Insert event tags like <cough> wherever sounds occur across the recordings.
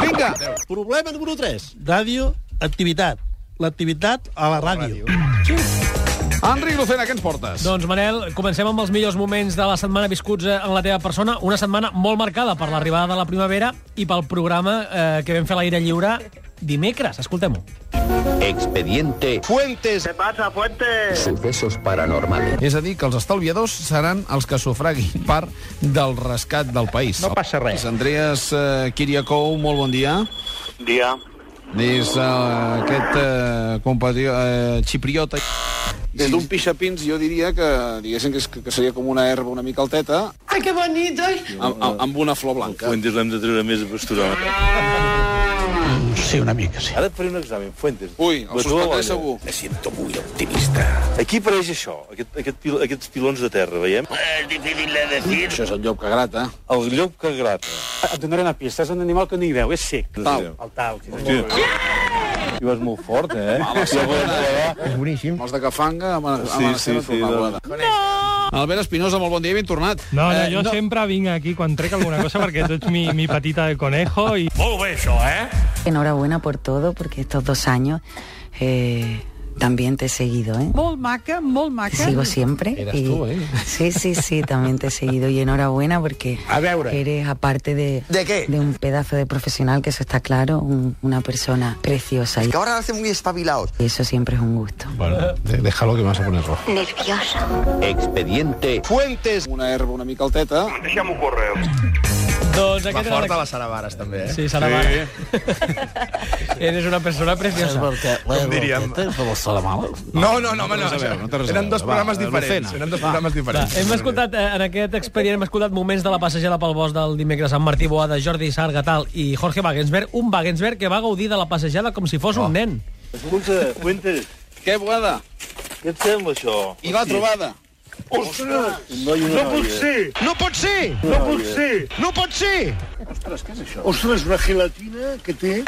Vinga, problema número 3. Ràdio, activitat. L'activitat a la ràdio. Enric Lucena, què ens portes? Doncs, Manel, comencem amb els millors moments de la setmana viscuts eh, en la teva persona. Una setmana molt marcada per l'arribada de la primavera i pel programa eh, que vam fer a l'aire lliure dimecres. Escoltem-ho. Expediente Fuentes. Sucesos Paranormales. És a dir, que els estalviadors seran els que sufraguin part del rescat del país. No passa res. Andreas eh, Kiriakou, molt bon dia. dia. Des eh, aquest eh, compatri... eh, xipriota... Des d'un pixapins jo diria que, diguéssim, que, és, que seria com una herba una mica alteta, ¡Ay, qué bonito! amb, amb- amb una flor blanca. Fuentes l'hem de treure més a pasturar. Sí, una mica, sí. Ara et faré un examen, Fuentes. Ui, el suspendré segur. Me siento muy optimista. Aquí apareix això, aquest, aquest, pil, aquests pilons de terra, veiem? Això és el llop que grata. El llop que grata. Et donaré una pista, és un animal que no hi veu, és sec. Tal. El tal. Hòstia. I vas molt fort, eh? la segona, És boníssim. Els de Cafanga amb, amb Sí, la sí, seva sí, tornada. doncs. Albert Espinosa, molt bon dia, ben tornat. No, no, Eh, jo no. sempre vinc aquí quan trec alguna cosa perquè tu ets mi, mi patita de conejo i... Molt bé, això, eh? Enhorabuena por todo, porque estos dos años eh, también te he seguido, ¿eh? Molt maca, molt maca. Sigo siempre. Eras y- tú, ¿eh? Sí, sí, sí, también te he seguido y enhorabuena porque A veure. eres, aparte de, ¿De qué? un pedazo de profesional, que eso está claro, un- una persona preciosa y Que ahora hace muy espabilados. eso siempre es un gusto. Bueno, de- déjalo que me vas a poner rojo. Expediente Fuentes. Una herba una mica alteta. Deixem-ho córrer. Doncs aquest era la... Saravaras, també, eh? Sí, Salamara. Sí. <laughs> Eres una persona preciosa. Com diríem... De la sala mala. No, no, no, home, no. res a veure, no té res a Eren veure. dos Va, programes Lucena. diferents. Eren dos programes Va, diferents. hem escoltat, eh, en aquest expedient, hem escoltat moments de la passejada pel bosc del dimecres amb Martí Boada, Jordi Sargatal i Jorge Wagensberg. Un Wagensberg que va gaudir de la passejada com si fos Oh. un nen. eh, Escolta, Fuentes, Què, boada? què et sembla, això? I la trobada. Un noi i una no noia. Ser. No pot ser! No pot ser! No pot ser! Ostres, una gelatina que té...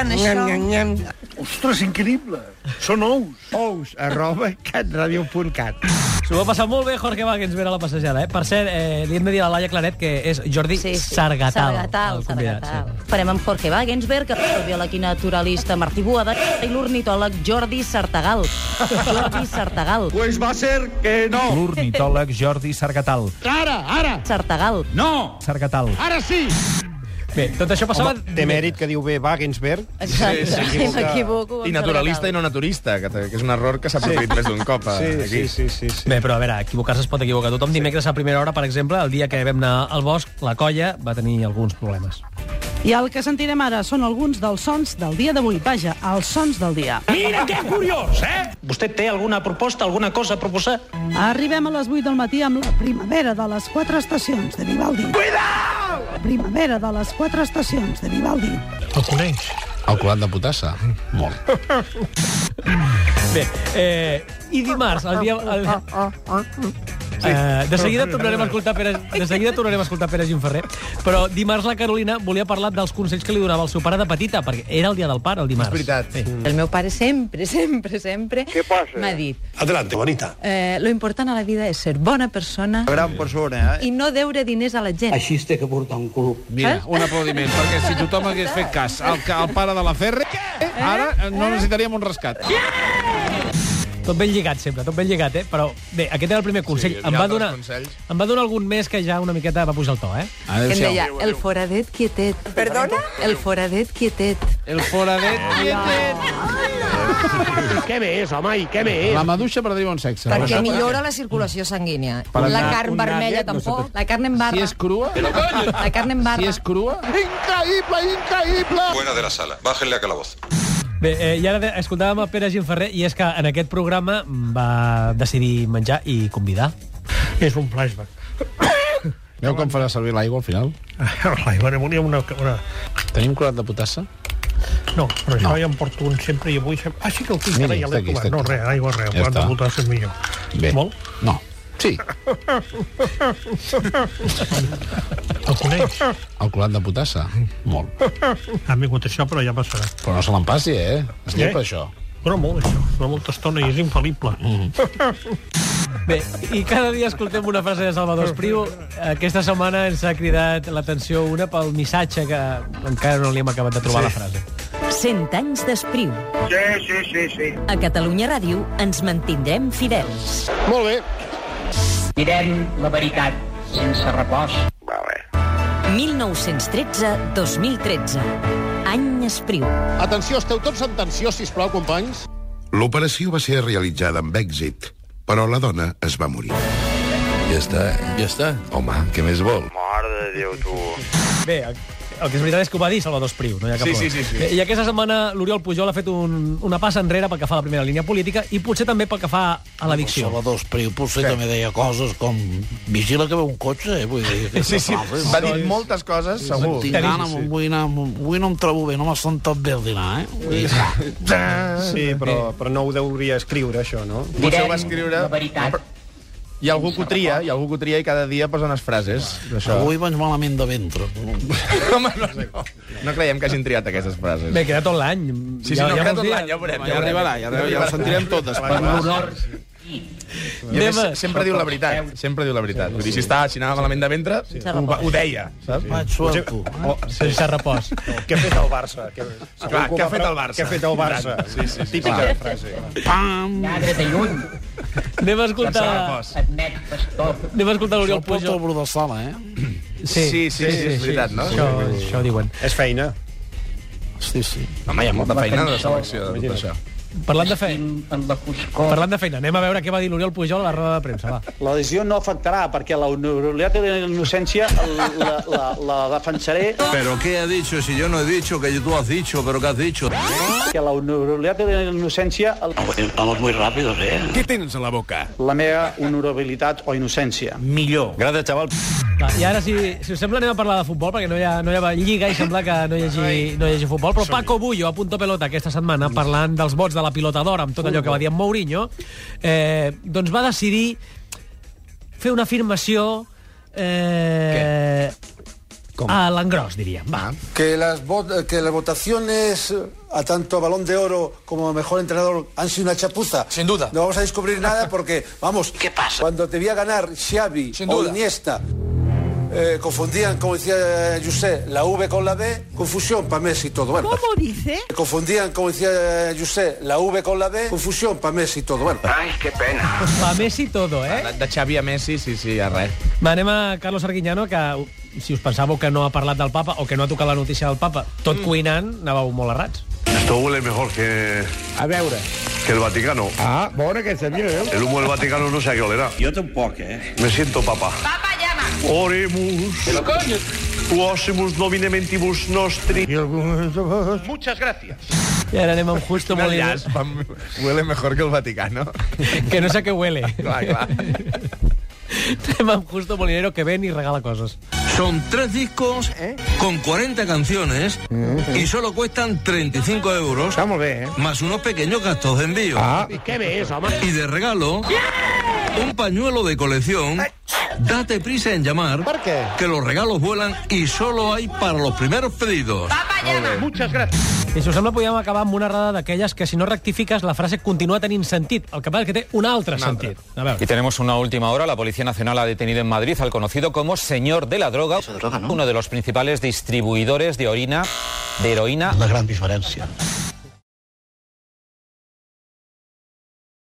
Ostres, increïble. Són ous. Ous, arroba, catradio.cat. S'ho va passar molt bé Jorge Wagensberg a la passejada, eh? Per cert, eh, li hem de dir a la Laia Claret que és Jordi Sí, sí. Sargatal. Sargatal, el convidat, Sargatal. sí. Farem amb Jorge Wagensberg, el biòleg i naturalista Martí Boada i l'ornitòleg Jordi Sartagal. <laughs> Jordi Sartagal. Pues va ser que no. L'ornitòleg Jordi Sargatal. Sartagal. No! Sargatal. Bé, tot això passava... Té mèrit que diu bé Wagensberg. Exacte, sí, sí, <laughs> m'equivoco. I naturalista i no naturista, que, que és un error que s'ha produït més d'un cop. eh, aquí. sí, sí. sí. Bé, però a veure, equivocar-se es pot equivocar. Tothom dimecres a primera hora, per exemple, el dia que vam anar al bosc, la colla va tenir alguns problemes. I el que sentirem ara són alguns dels sons del dia d'avui. Vaja, els sons del dia. eh? Vostè té alguna proposta, alguna cosa a proposar? Arribem a les 8 del matí amb la primavera de les quatre estacions de Vivaldi. Cuidao! Primavera de les quatre estacions de Vivaldi. El coneix? El colat de potassa? Molt. Bé, eh, i dimarts, el dia... El... Eh, de seguida tornarem a escoltar Pere, de seguida tornarem a escoltar Pere Gimferrer, però dimarts la Carolina volia parlar dels consells que li donava el seu pare de petita, perquè era el dia del pare, el dimarts. És veritat. El meu pare sempre, <laughs> sempre, sempre Què passa? m'ha dit Adelante, bonita. eh, lo important a la vida és ser bona persona Gran eh? persona, i no deure diners a la gent. Així es té que portar un club. Mira, un aplaudiment, perquè si tothom hagués fet cas al, ca- al pare de la Ferre, ara eh, no necessitaríem un rescat. Tot ben lligat sempre, tot ben lligat, eh? Però bé, aquest era el primer consell. hi ha em, va altres donar, consells. em va donar algun més que ja una miqueta va pujar el to, eh? Em Adéu-siau. deia, el foradet quietet. Perdona? El foradet quietet. El foradet quietet. Què més, home, i què més? La maduixa per dir bon sexe. Perquè millora la circulació sanguínia. La carn vermella tampoc. La carn en Si barra. és crua, La carn en si barra. és crua... Increïble, increïble! Fuera de la sala. Bájenle a calabozo. Bé, eh, i ara de- escoltàvem a Pere Gimferrer i és que en aquest programa mm, va decidir menjar i convidar. És un flashback. <laughs> Veu com farà servir l'aigua al final? L'aigua volia una... una... Tenim colat de potassa? No, però això no. ja em porto un sempre i avui... Sempre... Ah, sí que el tinc, ara Mira, ja està l'he aquí, trobat. està No, aquí. res, aigua, res, Ja ja està. de votar és millor. Vol? No. Sí, El coneix? el colat de potassa. Molt. Ha vingut això, però ja passarà. Però no se l'empassi, eh? Es Què? llepa, això. Dura molt, això. Dura molta estona i és infal·lible. Mm. Bé, i cada dia escoltem una frase de Salvador Espriu. Aquesta setmana ens ha cridat l'atenció una pel missatge que encara no li hem acabat de trobar sí. la frase. 100 anys d'espriu. Sí, sí, sí, sí. A Catalunya Ràdio ens mantindrem fidels. Molt bé. Direm la veritat sense repòs. 1913-2013. Any espriu. Atenció, esteu tots en tensió, sisplau, companys. L'operació va ser realitzada amb èxit, però la dona es va morir. Ja està, eh? Ja està. Home, què més vol? Mare de Déu, tu. Bé, el que és veritat és que ho va dir Salvador Espriu, no hi ha cap Sí, problema. sí, sí, sí. I aquesta setmana l'Oriol Pujol ha fet un, una passa enrere pel que fa a la primera línia política i potser també pel que fa a l'addicció. Salvador Espriu potser sí. també deia coses com vigila que veu un cotxe, eh? Vull dir, Sí, sí. Va dir moltes coses, segur. Tinc gana, sí. vull anar, avui no em trobo bé, no m'ha sentat bé el dinar, eh? Vull dir, Sí, però, però no ho deuria escriure, això, no? Potser ho va escriure... la veritat. Hi ha algú que ho tria, hi ha algú que ho tria i cada dia posa unes frases d'això. Avui vaig malament de ventre. <laughs> Home, no, no. no creiem que hagin triat aquestes frases. Bé, queda tot l'any. Sí, sí, no, queda vols tot dir- l'any, ja ho veurem. Ja arribarà, ja, arribarà, ja ho sentirem totes. Per l'honor. I a més, sempre diu la veritat. Sempre diu la veritat. Vull dir, si, està, si anava malament de ventre, ho, va- ho deia. Saps? Vaig suelto. O, Sense <laughs> repòs. què ha fet el Barça? Què, Clar, què ha fet el Barça? Què ha fet el Barça? Sí, sí, sí. Típica Clar. frase. Pam! Lladre de lluny. Anem a escoltar... Admet pastor. Anem a escoltar l'Oriol Porta el Pujol. bro de sala, eh? Sí, sí, sí, és veritat, no? Això, això diuen. És feina. Sí, sí. Home, hi ha molta La feina de cançó. selecció de tot això. Parlant de, fe... En la foscor. Parlant de feina, anem a veure què va dir l'Oriol Pujol a la roda de premsa, va. La decisió no afectarà, perquè la honorabilitat de la innocència la, la, la, la defensaré, ¿Pero qué ha dicho? Si yo no he dicho que tú has dicho, pero ¿qué has dicho? que la honorabilitat de la innocència... El... Vamos muy rápidos, eh? ¿Qué tienes en la boca? La meva honorabilitat o innocència. Millor. Gràcies, xaval. Va, I ara, si, si us sembla, anem a parlar de futbol, perquè no hi ha, no hi ha lliga i sembla que no hi hagi, no hi hagi futbol. Però Paco Bullo, a Punto Pelota, aquesta setmana, parlant dels vots de la pilota d'or, amb tot allò que va dir en Mourinho, eh, doncs va decidir fer una afirmació eh, a l'engròs, diríem. Va. Que las, vot- eh, que las votaciones eh, a tanto Balón de Oro como Mejor Entrenador han sido una chapuza. Sin duda. No vamos a descubrir <laughs> nada porque, vamos, ¿qué pasa? Cuando te voy a ganar Xavi o Iniesta, eh, confundían, como decía eh, José, la V con la B, confusión para Messi y todo. Bueno, ¿Cómo dice? confundían, como decía eh, José, la V con la B, confusión para Messi y todo. Bueno. Ai, que pena. Va, Messi todo, eh? De, de Xavi a Messi, sí, sí, a res. Va, anem a Carlos Arguiñano, que si us pensàveu que no ha parlat del papa o que no ha tocat la notícia del papa, tot cuinant, anàveu molt errats. Esto huele mejor que... A veure. Que el Vaticano. Ah, bona que senyor, eh? El humo del Vaticano no sé a qué olerá. Yo tampoco, eh? Me siento papa. Papa llama. Oremus. Pero coño. Quosimus nomine mentibus nostri. Muchas gracias. I ara anem amb Justo Quin Molina, enllaç. Pam, Huele mejor que el Vaticano. <laughs> que no sé què huele. clar, clar. Anem amb Justo Molinero, que ven i regala coses. Son tres discos con 40 canciones y solo cuestan 35 euros. Estamos eh? bien, Más unos pequeños gastos de envío. Ah. Què ves, home? Y de regalo, un pañuelo de colección. Date prisa en llamar. Que los regalos vuelan y solo hay para los primeros pedidos. Muchas gràcies. I si us sembla, podíem acabar amb una errada d'aquelles que si no rectifiques la frase continua tenint sentit. El que passa és que té un altre sentit. A veure. Y tenemos una última hora. La Policía Nacional ha detenido en Madrid al conocido como Señor de la Droga, uno de los principales distribuidores de orina, de heroína. La gran diferència.